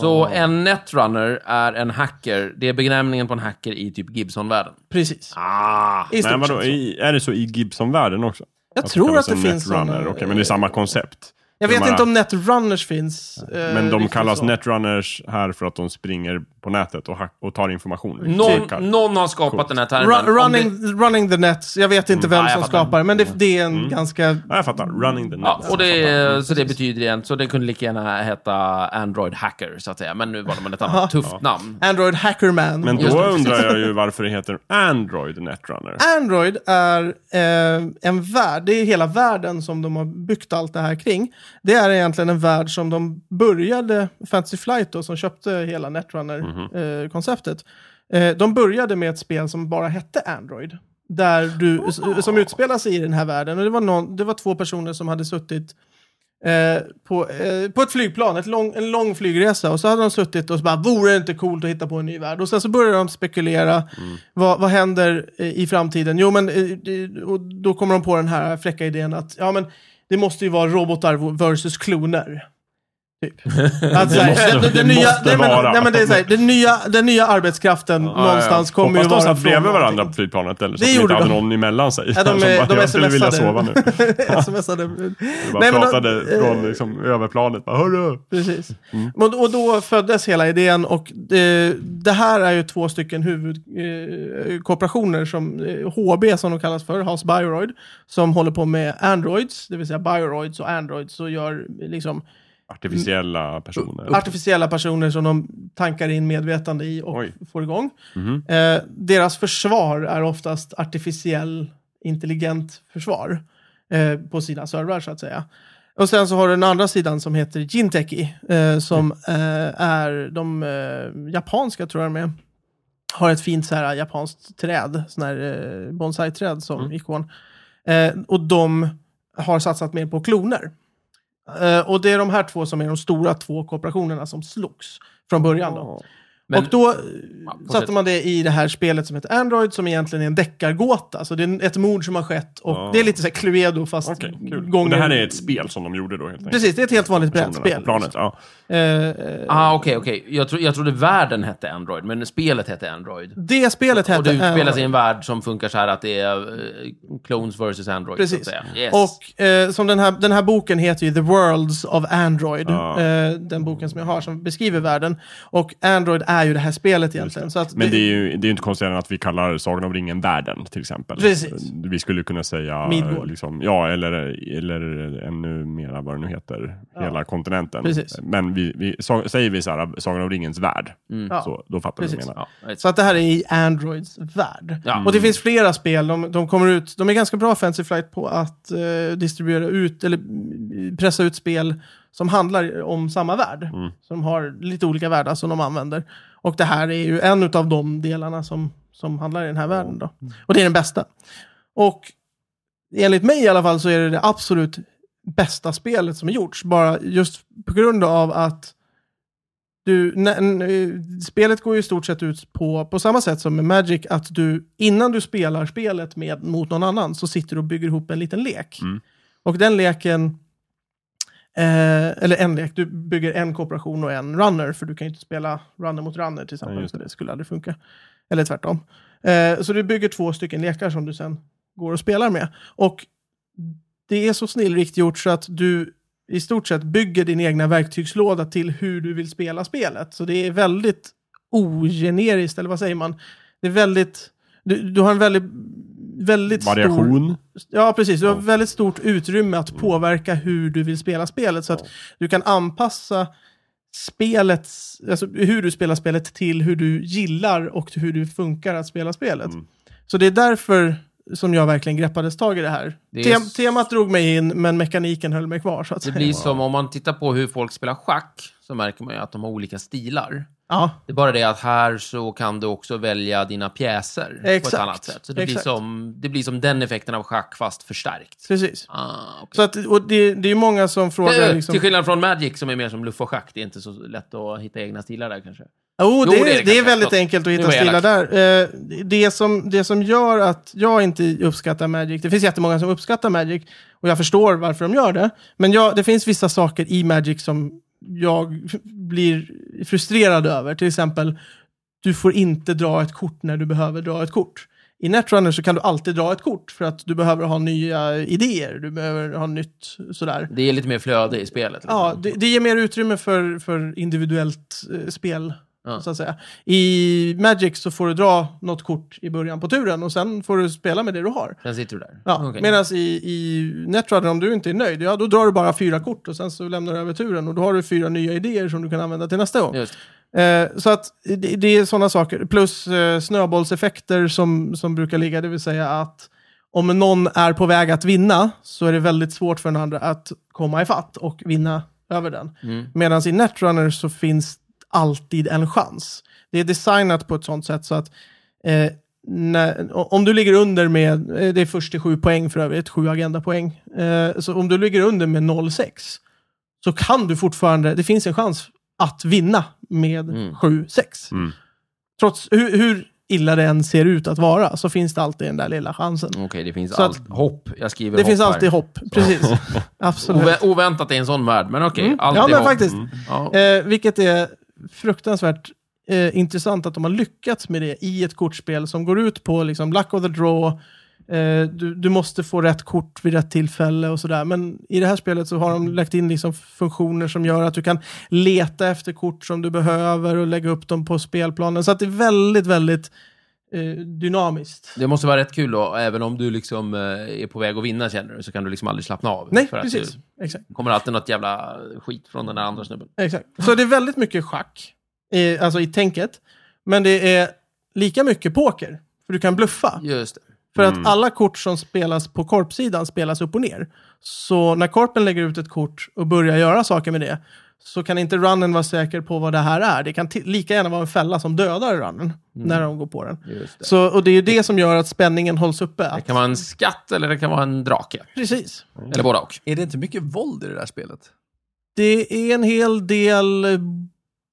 S2: Så en netrunner är en hacker. Det är benämningen på en hacker i typ Gibson-världen.
S1: Precis.
S2: Ah.
S1: I
S3: Nej,
S1: stort
S3: vadå,
S1: sett så.
S3: i, är det så i Gibson-världen också?
S1: Jag tror
S3: kallas
S1: att det
S3: en
S1: finns
S3: Netrunner.
S1: såna-
S3: Okej, men det är samma koncept.
S1: Jag
S3: De
S1: vet
S3: här-
S1: inte om Netrunners finns. eh,
S3: Men de
S1: riktigt
S3: kallas
S1: så.
S3: netrunners här för att de springer på nätet och, hack- och tar information. Kikar.
S2: Någon, någon har skapat den här termen.
S1: Typ. Ru-
S2: Om
S1: running,
S2: Det,
S1: running the Nets. Jag vet inte vem
S2: Ja, jag
S1: som
S2: fattar.
S1: skapar det, men det, det är en ganska...
S3: Mm. Ja, jag fattar. Running the net.
S2: ja, och det,
S1: Mm,
S2: är- så det betyder igen, så det kunde lika gärna heta Android Hacker, så att säga. Men nu var det med ett annat tufft namn.
S1: Android Hackerman.
S3: Men då
S2: Just det, precis.
S3: undrar jag ju varför det heter Android Netrunner.
S1: Äh, Android är eh, en värld, det är hela världen som de har byggt allt det här kring. Det är egentligen en värld som de började, Fantasy Flight då, som köpte hela
S3: Mhm.
S1: Netrunner-konceptet. eh, de började med ett spel som bara hette Android. Där du, s- Som utspelar sig i den här världen. Och det, var någon, det var två personer som hade suttit eh, på, eh, på ett flygplan, ett lång, en lång flygresa. Och så hade de suttit och så bara, vore det inte coolt att hitta på en ny värld? Och sen så började de spekulera,
S3: Mm.
S1: vad, vad händer eh, i framtiden? Jo, men eh, det- och då kommer de på den här fräcka idén att, ja men det måste ju vara robotar versus kloner. Typ. Att, så här,
S3: måste-
S1: den- den- den
S3: det
S1: nya-
S3: måste
S1: nej, men-
S3: vara.
S1: nej, men det är så här, Den nya- den nya arbetskraften någonstans kommer
S3: Hoppas
S1: ju vara
S3: de satt
S1: från
S3: bredvid
S1: någonting.
S3: varandra på flygplanet eller så
S1: Det
S3: att de
S1: gjorde
S3: inte hade
S1: de.
S3: någon emellan sig.
S1: Ja, de, de,
S3: Som jag skulle
S1: smsade.
S3: vilja sova nu.
S1: smsade.
S3: De bara
S1: Nej, men de-
S3: pratade
S1: eh,
S3: från liksom, överplanet. Bara, Hörru!
S1: Precis. Och, och då föddes hela idén och eh, det här är ju två stycken huvudkorporationer som eh, HB som de kallas för, Hans Bioroid, som håller på med Androids, det vill säga Bioroids och Androids och gör eh, liksom
S3: Artificiella personer.
S1: artificiella personer som de tankar in medvetande i och
S3: Oj.
S1: får igång. Eh, deras försvar är oftast artificiell intelligent försvar eh, på sina servrar så att säga. Och sen så har du den andra sidan som heter Jinteki eh, som eh, är de eh, japanska tror jag de är. Har ett fint så här japanskt träd, sån här eh, bonsai-träd som
S3: Mm.
S1: ikon. Eh, och de har satsat mer på kloner. Eh, och det är de här två som är de stora två kooperationerna som slogs från början. Då.
S2: Men-
S1: och då eh,
S2: fortsätt.
S1: satte man det i det här spelet som heter Android som egentligen är en deckargåta. Så det är ett mord som har skett och
S3: Ah.
S1: det är lite så här Cluedo fast
S3: Okej, kul.
S1: gånger...
S3: Och det här är ett spel som de gjorde då helt enkelt.
S1: Precis, det är ett helt vanligt
S3: Personerna
S1: brädspel.
S3: På planet, ja.
S1: Eh, eh,
S2: Ah, okej, okej. Jag, tro, jag trodde världen hette Android, men spelet hette Android.
S1: det spelet hette
S2: Och det utspelar
S1: Android.
S2: sig i en värld som funkar så här att det är eh, clones versus Android.
S1: Precis.
S2: Så att säga. Yes.
S1: Och eh, som den här, den här boken heter ju The Worlds of Android.
S3: Ja.
S1: Eh, den boken som jag har som beskriver världen. Och Android är ju det här spelet egentligen. Så att
S3: Men det är ju det är ju inte konstigt än att vi kallar Sagan om ringen världen till exempel.
S1: Precis.
S3: Vi skulle kunna säga...
S1: Midgård.
S3: Liksom, ja, eller, eller ännu mera vad det nu heter. Hela kontinenten.
S1: Precis.
S3: Men vi, vi, sa- säger vi så här, Sagan om ringens värld,
S1: Ja.
S3: så, då fattar vi vad
S1: Precis.
S3: jag menar.
S2: Ja,
S1: Så att det här är i Androids värld.
S2: Ja.
S1: Och det finns flera spel, de, de kommer ut, de är ganska bra Fancy Flight på att eh, distribuera ut, eller mm, pressa ut spel som handlar om samma värld. Som har lite olika världar som de använder. Och det här är ju en av de delarna som, som handlar i den här världen då. Och det är den bästa. Och enligt mig i alla fall så är det det absolut bästa spelet som har gjorts. Bara just på grund av att du, nä- n- eh, spelet går ju i stort sett ut på, på samma sätt som med Magic, att du innan du spelar spelet med, mot någon annan så sitter du och bygger ihop en liten lek.
S3: Mm.
S1: Och den leken, eh, eller en lek, du bygger en kooperation och en runner, för du kan ju inte spela runner mot runner till exempel,
S3: Nej, just
S1: så det skulle aldrig funka. Eller tvärtom. Eh, så du bygger två stycken lekar som du sen går och spelar med. Och det är så snillrikt gjort så att du i stort sett bygger din egna verktygslåda till hur du vill spela spelet. Så det är väldigt ogeneriskt, eller vad säger man? Det är väldigt... Du, du har en väldigt... Väldigt stor...
S3: Variation.
S1: Ja, precis. Du har väldigt stort utrymme att påverka hur du vill spela spelet. Så att du kan anpassa spelets, alltså hur du spelar spelet till hur du gillar och hur du funkar att spela spelet. Så det är därför som jag verkligen greppades tag i det här.
S2: Det är
S1: Tem-
S2: s-
S1: Temat drog mig in, men mekaniken höll mig kvar. Så att
S2: Det
S1: säga.
S2: blir som om man tittar på hur folk spelar schack, så märker man ju att de har olika stilar.
S1: Ja,
S2: Det är bara det att här så kan du också välja dina pjäser på
S1: Exakt.
S2: ett annat sätt. Så det, blir
S1: Exakt.
S2: som, det blir som den effekten av schack, fast förstärkt.
S1: precis.
S2: Ah, okay.
S1: Så att, och det, det är ju många som frågar... Liksom,
S2: Eh, Till skillnad från Magic som är mer som luff och schack, det är inte så lätt att hitta egna stilar där kanske.
S1: Jo,
S2: Jo,
S1: det,
S2: det är det
S1: är, det
S2: kanske.
S1: är väldigt
S2: Förlåt.
S1: enkelt att
S2: Nu
S1: hitta
S2: var jag
S1: stilar där. Eh, Det som, det som gör att jag inte uppskattar Magic, det finns jättemånga som uppskattar Magic och jag förstår varför de gör det, men jag, det finns vissa saker i Magic som jag blir frustrerad över. Till exempel, du får inte dra ett kort när du behöver dra ett kort. I Netrunner så kan du alltid dra ett kort för att du behöver ha nya idéer, du behöver ha nytt sådär.
S2: Det är lite mer flöde i spelet. liksom.
S1: Ja, det, det ger mer utrymme för, för individuellt eh, spel.
S2: Ja.
S1: Så att säga. I Magic så får du dra något kort i början på turen och sen får du spela med det du har.
S2: Sen sitter du där.
S1: Ja,
S2: Okej.
S1: Medan i, i Netrunner, om du inte är nöjd, ja, då drar du bara fyra kort och sen så lämnar du över turen och då har du fyra nya idéer som du kan använda till nästa gång.
S2: Just.
S1: Eh, så att det, det är sådana saker. Plus eh, snöbollseffekter som, som brukar ligga, det vill säga att om någon är på väg att vinna så är det väldigt svårt för den andra att komma ifatt och vinna över den. Medan i Netrunner så finns alltid en chans. Det är designat på ett sånt sätt så att eh, när, o- om du ligger under med, eh, det är först till sju poäng för övrigt, sju agendapoäng. Eh, så om du ligger under med 0,6 så kan du fortfarande, det finns en chans att vinna med
S2: Mm.
S1: 7-6.
S3: Mm.
S1: Trots hur, hur illa det än ser ut att vara så finns det alltid den där lilla chansen.
S2: Okej, det finns
S1: Så att-
S2: allt hopp. Jag skriver
S1: Det
S2: hopp
S1: finns
S2: här.
S1: alltid hopp, precis. Absolut.
S2: Ovä- oväntat i en sån värld, men okej.
S1: Mm.
S2: alltid
S1: Ja, men
S2: hopp. Mm.
S1: faktiskt.
S2: Ja.
S1: Eh, vilket är fruktansvärt eh, intressant att de har lyckats med det i ett kortspel som går ut på liksom, luck of the draw, eh, du, du måste få rätt kort vid rätt tillfälle och sådär. Men i det här spelet så har de
S2: Mm.
S1: lagt in liksom, funktioner som gör att du kan leta efter kort som du behöver och lägga upp dem på spelplanen. Så att det är väldigt, väldigt eh, dynamiskt.
S2: Det måste vara rätt kul då, även om du liksom eh, är på väg att vinna känner du, så kan du liksom aldrig slappna av.
S1: Nej,
S2: För att
S1: precis. Exakt.
S2: Det kommer alltid något jävla skit från den där andra snubben.
S1: Exakt. Så det är väldigt mycket schack, i, alltså i tänket. Men det är lika mycket poker, för du kan bluffa.
S2: Just det.
S1: För att alla kort som spelas på korpsidan spelas upp och ner. Så när korpen lägger ut ett kort och börjar göra saker med det, så kan inte runnen vara säker på vad det här är. Det kan ti- lika gärna vara en fälla som dödar runnen
S2: Mm.
S1: när de går på den.
S2: Just det.
S1: Så, och det är ju det som gör att spänningen hålls uppe.
S2: det
S1: Att,
S2: kan vara en skatt eller det kan vara en drake.
S1: precis.
S2: Eller båda och.
S4: Är det inte mycket våld i det där spelet?
S1: Det är en hel del eh,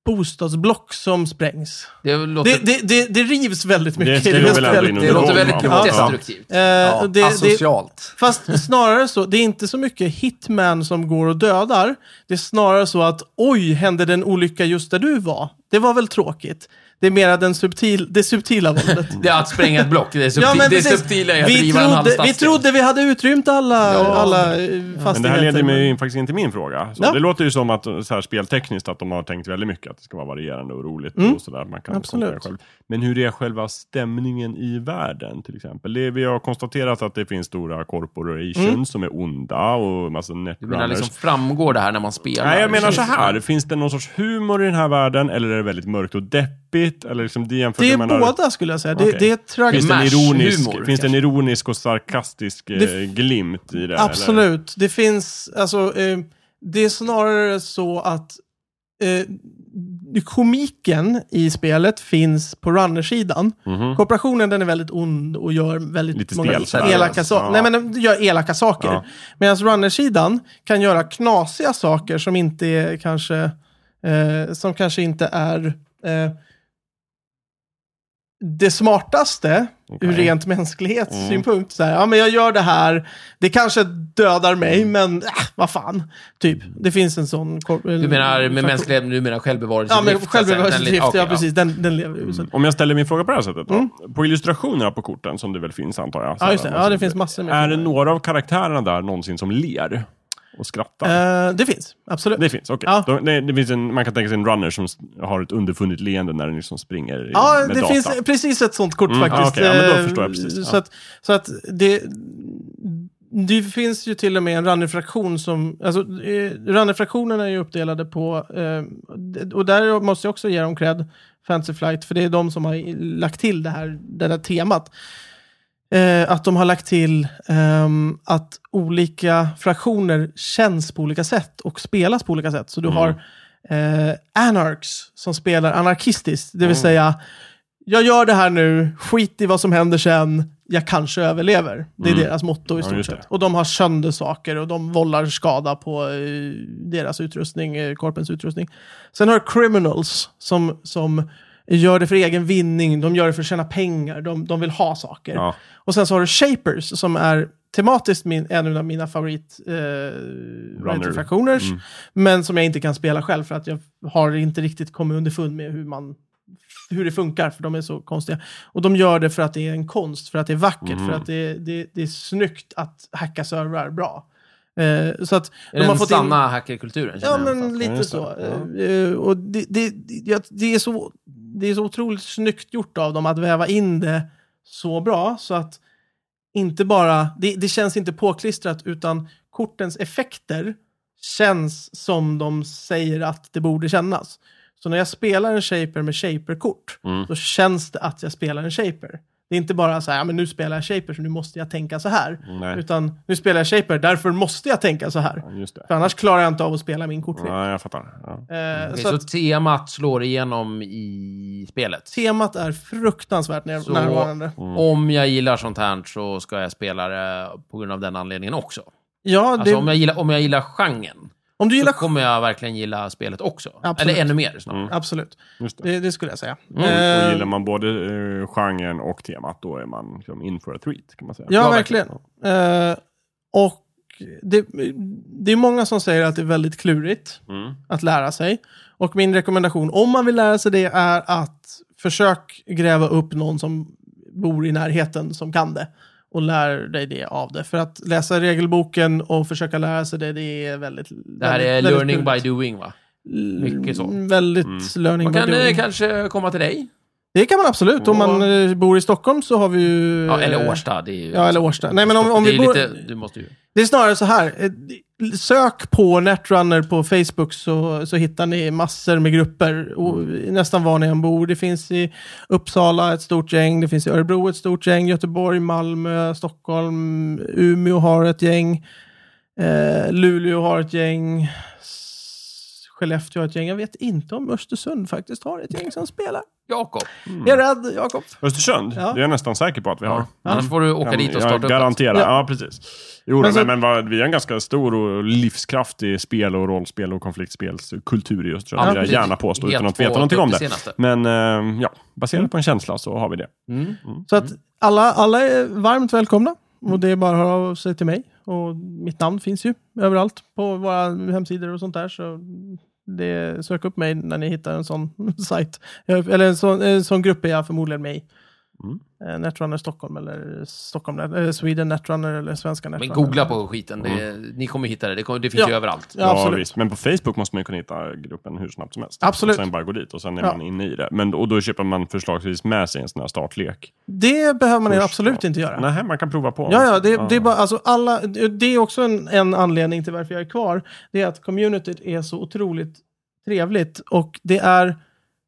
S1: bostadsblock som sprängs.
S2: Det låter,
S1: Det, det, det, det rivs väldigt mycket
S3: skulle
S1: i
S3: jag
S1: det
S3: väl
S1: här
S3: ändå
S1: spelet.
S3: in
S2: det låter
S3: Ja,
S2: väldigt
S1: ja.
S2: destruktivt.
S1: Eh,
S4: Ja,
S1: och det- det,
S4: asocialt.
S1: Fast snarare så, det är inte så mycket hitman som går och dödar. Det är snarare så att oj, hände det en olycka just där du var? Det var väl tråkigt. Det är mera den subtil, det subtila våldet.
S2: Det är att spränga ett block. Det är, subtil,
S1: Ja, men
S2: det är
S1: precis.
S2: subtila i att
S1: vi,
S2: riva en halv
S1: trodde, vi
S2: stadsdel.
S1: trodde vi hade utrymt alla,
S2: Ja.
S1: alla eh,
S3: Men det här
S1: fastigheter.
S3: leder mig ju faktiskt in till min fråga. Så
S1: Ja.
S3: Det låter ju som att eh, så här, speltekniskt att de har tänkt väldigt mycket att det ska vara varierande och roligt och sådär. Man kan
S1: Mm. Absolut.
S3: kontrollera själv. Men hur är själva stämningen i världen till exempel? Det, vi har konstaterat att det finns stora corporations
S1: Mm.
S3: som är onda och massa
S2: Du menar
S3: netrunners.
S2: liksom framgår det här när man spelar?
S3: Nej, jag menar så här. Finns det någon sorts humor i den här världen eller är det väldigt mörkt och deppigt? Eller liksom det jämfört
S1: Det är
S3: jag menar-
S1: båda skulle jag säga. Det,
S3: Okej.
S1: det är tragiskt.
S3: Finns det, en
S2: Mash,
S3: ironisk,
S2: humor,
S3: finns det en ironisk och sarkastisk eh,
S1: Det-
S3: glimt i det? eller?
S1: Absolut. Det finns, alltså, eh, det är snarare så att eh, komiken i spelet finns på runnersidan. Kooperationen den är väldigt ond och gör väldigt
S3: Mhm. Lite
S1: många
S3: stel sådär.
S1: elaka saker.
S3: Ja.
S1: Nej, men den gör elaka saker.
S3: Ja.
S1: Medan runnersidan kan göra knasiga saker som inte är kanske, eh, som kanske inte är eh, det smartaste ur
S3: Okej.
S1: rent
S2: Mm.
S1: mänsklighetssynpunkt. Så här, ja, men jag gör det här. Det kanske dödar mig,
S2: Mm.
S1: men äh, vad fan. Typ. Det finns en sån...
S2: Du menar med mänsklighet, du menar
S1: Ja,
S2: självbevarelsedrift?
S1: men självbevarelsedrift.
S2: så att säga. Den
S1: ja,
S2: li- okej, Mm.
S1: precis. Den, den lever ju. Så. att-
S3: Om jag ställer min fråga på det här sättet då. På illustrationerna på korten som det väl finns antar jag.
S1: Mm.
S3: så
S1: Ja,
S3: här,
S1: just det. Ja,
S3: alltså,
S1: det finns massor med.
S3: Är det några av karaktärerna där någonsin som ler och skrattar?
S1: Eh, det finns, absolut.
S3: det finns, okej.
S1: ja.
S3: Då- Det, det finns en, man kan tänka sig en runner som s- har ett underfundigt leende när den liksom springer i-
S1: Ja,
S3: med
S1: det
S3: data.
S1: finns precis ett sånt kort
S3: Mm, ja,
S1: faktiskt.
S3: okej. Ja, men då
S1: Eh,
S3: förstår jag precis.
S1: Så
S3: Ja.
S1: att, så att det, det finns ju till och med en runnerfraktion som... Alltså, eh, runnerfraktionerna är ju uppdelade på... eh, d- Och där måste jag också ge dem cred, Fancy Flight, för det är de som har i- lagt till det här, det här temat. Eh, Att de har lagt till ehm, att olika fraktioner känns på olika sätt och spelas på olika sätt. Så
S3: Mm.
S1: du har eh, anarchs som spelar anarkistiskt, det vill
S3: Mm.
S1: säga jag gör det här nu, skit i vad som händer sen, jag kanske överlever. Det är deras motto i
S3: Mm. Ja,
S1: stort
S3: just det.
S1: sett. Och de har sönder saker och de vållar skada på eh, deras utrustning, eh, korpens utrustning. Sen har du criminals som, som gör det för egen vinning, de gör det för att tjäna pengar, de, de vill ha saker.
S3: Ja.
S1: Och sen så har du shapers som är tematiskt min, en av mina favorit eh, vad heter det, fraktioners, men som jag inte kan spela själv för att jag har inte riktigt kommit underfund med hur man hur det funkar, för de är så konstiga. Och de gör det för att det är en konst, för att det är vackert, för att det, det, det är snyggt att hacka servrar bra. Eh, så att
S2: ja. Är det den sanna hackerkulturen? känner
S1: Ja,
S2: jag
S1: men
S2: någonstans?
S1: lite
S3: just det.
S1: så. Eh, Och det, det, det, det, är så det är så otroligt snyggt gjort av dem att väva in det så bra så att inte bara, det, det känns inte påklistrat utan kortens effekter känns som de säger att det borde kännas. Så när jag spelar en shaper med shaper-kort så känns det att jag spelar en shaper. Det är inte bara så här, "Ja, men nu spelar jag shaper så nu måste jag tänka så här.
S3: Nej.
S1: Utan nu spelar jag shaper, därför måste jag tänka så här.
S3: Ja, Just det.
S1: För annars klarar jag inte av att spela min kortlek.
S3: Ja, jag fattar. Ja.
S1: Eh,
S2: Okej,
S1: så
S2: så
S1: att
S2: temat slår igenom i spelet?
S1: temat är fruktansvärt när-
S2: Så-
S1: närvarande.
S2: Om jag gillar sånt här så ska Alltså, jag spela det på grund av den anledningen också.
S1: Ja, det,
S2: Alltså om jag gillar, om jag gillar genren.
S1: Om du
S2: så
S1: gillar
S2: kommer jag verkligen gilla spelet också.
S1: Absolut.
S2: Eller ännu mer snarare.
S3: Mm.
S1: Absolut,
S3: Just det.
S1: det, det skulle jag säga.
S3: Mm.
S1: Eh,
S3: Och gillar man både uh, genren och temat, då är man liksom in for a treat, kan man säga.
S1: Ja,
S2: Ja,
S1: verkligen. Eh, och det, det är många som säger att det är väldigt klurigt
S3: Mm.
S1: att lära sig. Och min rekommendation, om man vill lära sig det, är att försök gräva upp någon som bor i närheten som kan det. Och lär dig det av det. För att läsa regelboken och försöka lära sig det, det är väldigt...
S2: Det här är
S1: väldigt
S2: learning
S1: klurigt.
S2: by doing, va? mycket så.
S1: Mm, Väldigt
S3: Mm.
S1: learning
S2: Man
S1: by
S2: kan eh,
S1: doing.
S2: kanske komma till dig.
S1: Det kan man absolut. Om man eh, bor i Stockholm så har vi ju...
S2: Ja, eller
S1: eh,
S2: Årsta. Det är ju...
S1: Ja, eller Årsta. Nej, men om, om
S2: det är
S1: vi
S2: ju
S1: bor...
S2: lite, du måste ju...
S1: Det är snarare så här. eh, Sök på Netrunner på Facebook så, så hittar ni massor med grupper. Och nästan var ni än bor. Det finns i Uppsala ett stort gäng. Det finns i Örebro ett stort gäng. Göteborg, Malmö, Stockholm, Umeå har ett gäng. Eh, Luleå har ett gäng. S- Skellefteå har ett gäng. Jag vet inte om Östersund faktiskt har ett gäng som spelar.
S2: Jakob.
S1: Jag är rädd, Jakob.
S3: Östersund,
S1: Ja.
S3: det är jag nästan säker på att vi har.
S2: Annars får du åka
S3: Kan
S2: dit
S3: Mm.
S2: och
S3: jag
S2: starta upp. det.
S3: Garantera, ja. precis. Jo,
S1: Men
S3: men,
S1: så-
S3: men, vad, vi är en ganska stor och livskraftig spel och rollspel och konfliktspelskultur i Östersund,
S2: Ja,
S3: vill jag
S2: precis.
S3: gärna påstå, utan
S2: Helt
S3: att veta
S2: på
S3: någonting
S2: det
S3: om det.
S2: senaste.
S3: Men eh, ja, baserat på en känsla så har vi det.
S2: Mm.
S1: Så att alla, alla är varmt välkomna. Och det är bara att höra av sig till mig. Och mitt namn finns ju överallt på våra hemsidor och sånt där. Så det, sök upp mig när ni hittar en sån sajt. Jag- Eller en sån, en sån grupp är jag förmodligen med i.
S3: Mm.
S1: Eh, Netrunner Stockholm eller Stockholm, Net- eh, Sweden Netrunner eller svenska
S2: Men
S1: Netrunner.
S2: googla på skiten. Det,
S3: Mm.
S2: Ni kommer hitta det. Det, kommer, det finns
S1: Ja.
S2: ju överallt.
S1: Ja, absolut.
S3: visst. Men på Facebook måste man ju kunna hitta gruppen hur snabbt som helst.
S1: Absolut.
S3: Och sen bara gå dit och sen är
S1: Ja.
S3: man inne i det. Men, och då köper man förslagsvis med sig en sån här startlek.
S1: Det behöver man ju
S3: Först,
S1: absolut inte göra.
S3: Nej, man kan prova på.
S1: Ja, ja, det, det är bara, alltså alla, det det är också en, en anledning till varför jag är kvar. Det är att communityt är så otroligt trevligt och det är,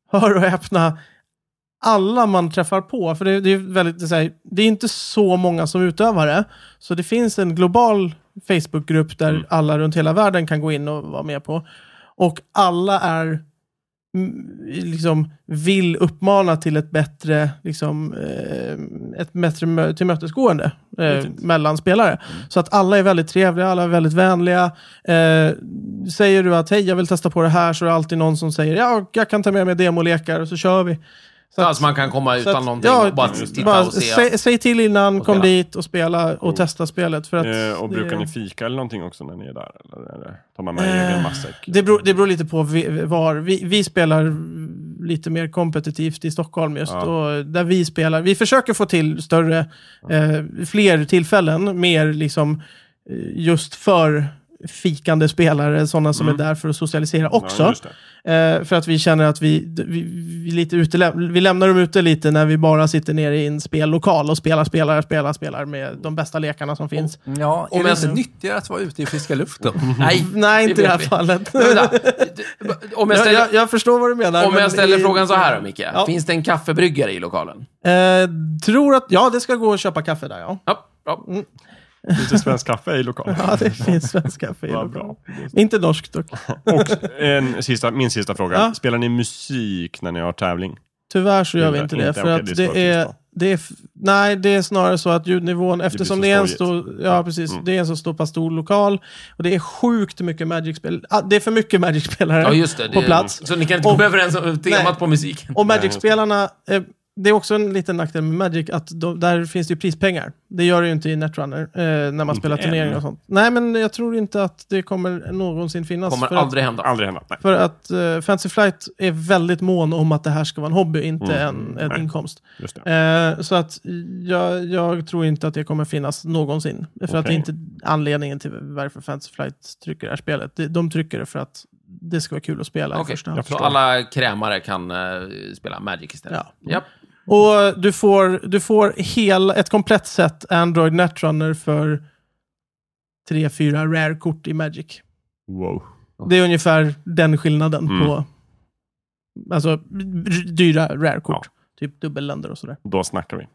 S1: hör och häpna, alla man träffar på. För det, det är väldigt, det är, så här, det är inte så många som utövar det. Så det finns en global Facebookgrupp där alla runt hela världen kan gå in och vara med på. Och alla är mm, liksom vill uppmana till ett bättre, liksom, eh, ett bättre mö- tillmötesgående eh, mellan spelare.
S2: Mm.
S1: Så att alla är väldigt trevliga, alla är väldigt vänliga. Eh, säger du att hej, jag vill testa på det här, så är det alltid någon som säger ja, jag kan ta med mig demolekar och så kör vi. Så
S2: Så
S1: att-
S2: alltså man kan komma
S1: så
S2: utan
S1: att-
S2: någonting
S1: ja,
S2: och bara
S3: just det.
S2: titta
S1: bara
S2: och se.
S1: Säg, säg till innan,
S2: Och
S1: kom
S2: spela.
S1: dit och spela och
S3: Mm.
S1: testa spelet. För att
S3: Eh, och brukar
S1: det,
S3: ni fika eller någonting också när ni är där? Eller är det- tar man med
S1: Eh,
S3: egen matsäck?
S1: det, beror, det beror lite på vi, var. Vi, vi spelar lite mer kompetitivt i Stockholm just.
S3: Ja.
S1: Och där vi spelar. Vi försöker få till större, eh, fler tillfällen. Mer liksom eh, just för fikande spelare, sådana som
S3: Mm.
S1: är där för att socialisera också.
S3: Ja, just det.
S1: Eh, för att vi känner att vi, d- vi, vi, lite utelä- vi lämnar dem ute lite när vi bara sitter nere i en spellokal och spelar, spelar, spelar, spelar med de bästa lekarna som finns.
S4: Ja, är
S2: Om
S4: det
S2: ens-
S4: inte nyttigare att vara ute i friska luften?
S1: Mm.
S2: Nej,
S1: Nej, inte i det här
S2: vet vi.
S1: fallet.
S2: Men vänta. Om jag
S1: Jag,
S2: ställer,
S1: jag, jag förstår vad du menar.
S2: om
S1: men
S2: jag ställer
S1: i-
S2: frågan så här då, Micke.
S1: Ja.
S2: Finns det en kaffebryggare i lokalen?
S1: Eh, tror att, ja, det ska gå att köpa kaffe där, ja.
S2: Ja, ja.
S1: Mm.
S3: Lite svensk kaffe i lokalen.
S1: Ja, det finns svenskt kaffe i
S3: Vad
S1: lokalen.
S3: bra.
S1: Inte norskt dock.
S3: Och en sista, min sista fråga.
S1: Ja.
S3: Spelar ni musik när ni har tävling?
S1: Tyvärr så gör vi
S3: Inte-
S1: inte
S3: inte,
S1: det. För
S3: okej, det
S1: att det
S3: är svårt att
S1: är,
S3: förstå.
S1: det är, f- nej, det är snarare så att ljudnivån, eftersom
S3: så
S1: det, är en
S3: skojigt. Mm.
S1: stor, ja, precis, det är en så stor, pass stor lokal och det är sjukt mycket Magic-spel. Ah, det är för mycket Magic-spelare
S2: ja just det.
S1: på
S2: det-
S1: plats.
S2: Så ni kan inte
S1: Och-
S2: komma överens om temat
S1: Nej.
S2: på musiken?
S1: Och Magic-spelarna, eh, det är också en liten nackdel med Magic, att de, där finns det ju prispengar. Det gör det ju inte i Netrunner eh, när man spelar
S3: än.
S1: turneringar och sånt. Nej, men jag tror inte att det kommer någonsin finnas.
S2: kommer
S1: för att-
S2: aldrig hända.
S3: Aldrig hända. Nej.
S1: För att eh, Fantasy Flight är väldigt mån om att det här ska vara en hobby, inte en, en
S3: Mm. Nej.
S1: inkomst.
S3: Just det.
S1: Eh, så att jag, jag tror inte att det kommer finnas någonsin. För att det är
S3: Okej.
S1: inte anledningen till varför Fantasy Flight trycker det här spelet. De, de trycker det för att det ska vara kul att spela i
S2: Okej,
S1: första hand.
S2: så alla krämare kan eh, spela Magic istället?
S1: Ja.
S2: Japp.
S1: Och du får, du får hel, ett komplett set Android Netrunner för 3-4 rare-kort i Magic.
S3: Wow.
S1: Det är ungefär den skillnaden
S3: Mm.
S1: på alltså, r- dyra rare-kort. Typ dubbelländer och sådär.
S3: Då snackar vi.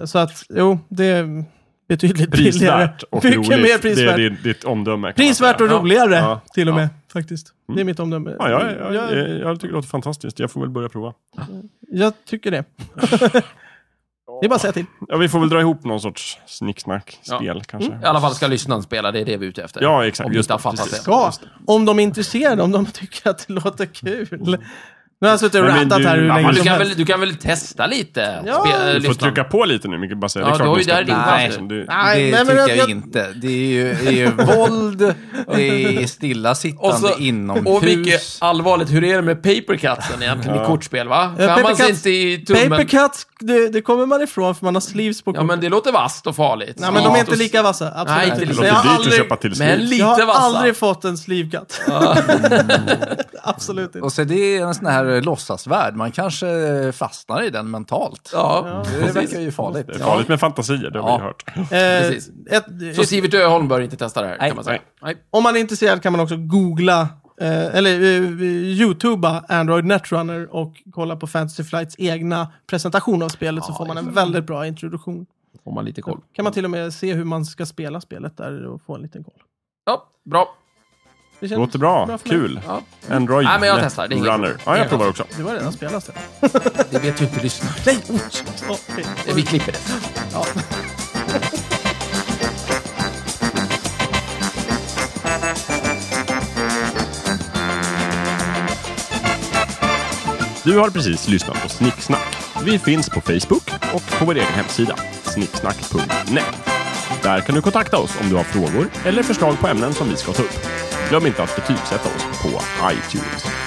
S1: Eh, så att, jo, det är betydligt billigare.
S3: Mm. Prisvärt och
S1: Mycket
S3: roligt.
S1: mer prisvärt.
S3: Det är ditt, ditt omdöme. kan man
S1: Prisvärt och
S3: säga.
S1: roligare,
S3: Ja.
S1: till och
S3: Ja. Mm.
S1: med, faktiskt. Det är mitt omdöme.
S3: Ja, jag, jag,
S1: jag,
S3: jag, jag tycker det låter fantastiskt. Jag får väl börja prova.
S1: jag tycker det. Det är bara att säga till.
S3: Ja, vi får väl dra ihop någon sorts snicksnack-spel kanske.
S2: I alla fall ska lyssnaren spela, det är det vi är ute efter.
S3: Ja, exakt.
S2: Mm. Om vi
S3: Just
S2: inte har
S3: det,
S2: fattat
S3: precis.
S2: det.
S1: Ska, om de är intresserade, om de tycker att det låter kul. Nu har jag suttit och
S3: Mm. Nej, men
S1: rattat
S3: du-
S1: här hur
S3: ja, men
S1: länge
S2: Men du,
S1: som
S2: kan väl,
S1: helst.
S2: du kan väl testa lite?
S1: Ja.
S2: Spe- eh,
S3: Du får
S2: lyssna.
S3: trycka på lite nu, Micke. Bara säga, det
S2: Ja,
S3: är klart
S2: då är
S3: du ska
S2: det din
S3: prata
S2: chans.
S3: som du-
S1: Nej, nej,
S4: det
S1: men
S4: tycker
S1: jag,
S4: jag,
S1: jag,
S4: inte. Det är ju, det är ju våld, det är
S2: Och
S4: stillasittande
S2: så-
S4: inomhus.
S2: Och Micke, allvarligt, hur är det med papercutsen egentligen i kortspel, va?
S1: Ja,
S2: Skär man sig
S1: papercuts-
S2: inte i tummen?
S1: Papercuts, Eh, det, det kommer man ifrån för man har sleeves på
S2: Ja,
S1: korten.
S2: men det låter vasst och farligt.
S1: nej, men de är
S2: Ja.
S1: inte lika vassa. Absolut.
S2: Nej, inte
S3: Det
S1: inte.
S2: lika.
S1: Jag
S3: låter
S1: har
S3: dyrt att
S1: aldrig,
S3: köpa till
S2: Men
S3: snitt.
S1: jag
S2: lite
S1: har
S2: vassa. Mm.
S1: aldrig fått en sleevecut. Absolut inte.
S4: Och så det är en sån här låtsasvärld. Man kanske fastnar i den mentalt.
S2: Ja.
S4: det verkar ju farligt.
S3: Det är farligt med fantasier, det har
S4: Ja.
S3: vi ju hört.
S1: Eh,
S2: precis.
S1: ett,
S2: Så Sivert Öholm bör inte testa det här,
S4: Nej.
S2: kan man säga. Nej.
S1: om man är intresserad kan man också googla, eh, eller eh, youtuba Android Netrunner och kolla på Fantasy Flights egna presentation av spelet så får man en väldigt bra introduktion.
S2: Får man lite koll.
S1: kan man till och med se hur man ska spela spelet där och få en liten koll.
S2: Ja, bra.
S1: Det känns-
S3: Låter bra,
S1: för mig.
S3: kul.
S2: Ja.
S3: Android
S2: Nej, men jag
S3: Net
S2: testar. Det är inget-
S3: Runner. Ja, jag
S2: inget
S3: provar också.
S1: Du har redan spelat det.
S2: Det vet ju inte lyssnarna.
S1: Nej! oh, shit. Oh, shit.
S2: Vi klipper det.
S3: Du har precis lyssnat på Snicksnack. Vi finns på Facebook och på vår egen hemsida, snicksnack.net. Där kan du kontakta oss om du har frågor eller förslag på ämnen som vi ska ta upp. Glöm inte att betygsätta oss på iTunes.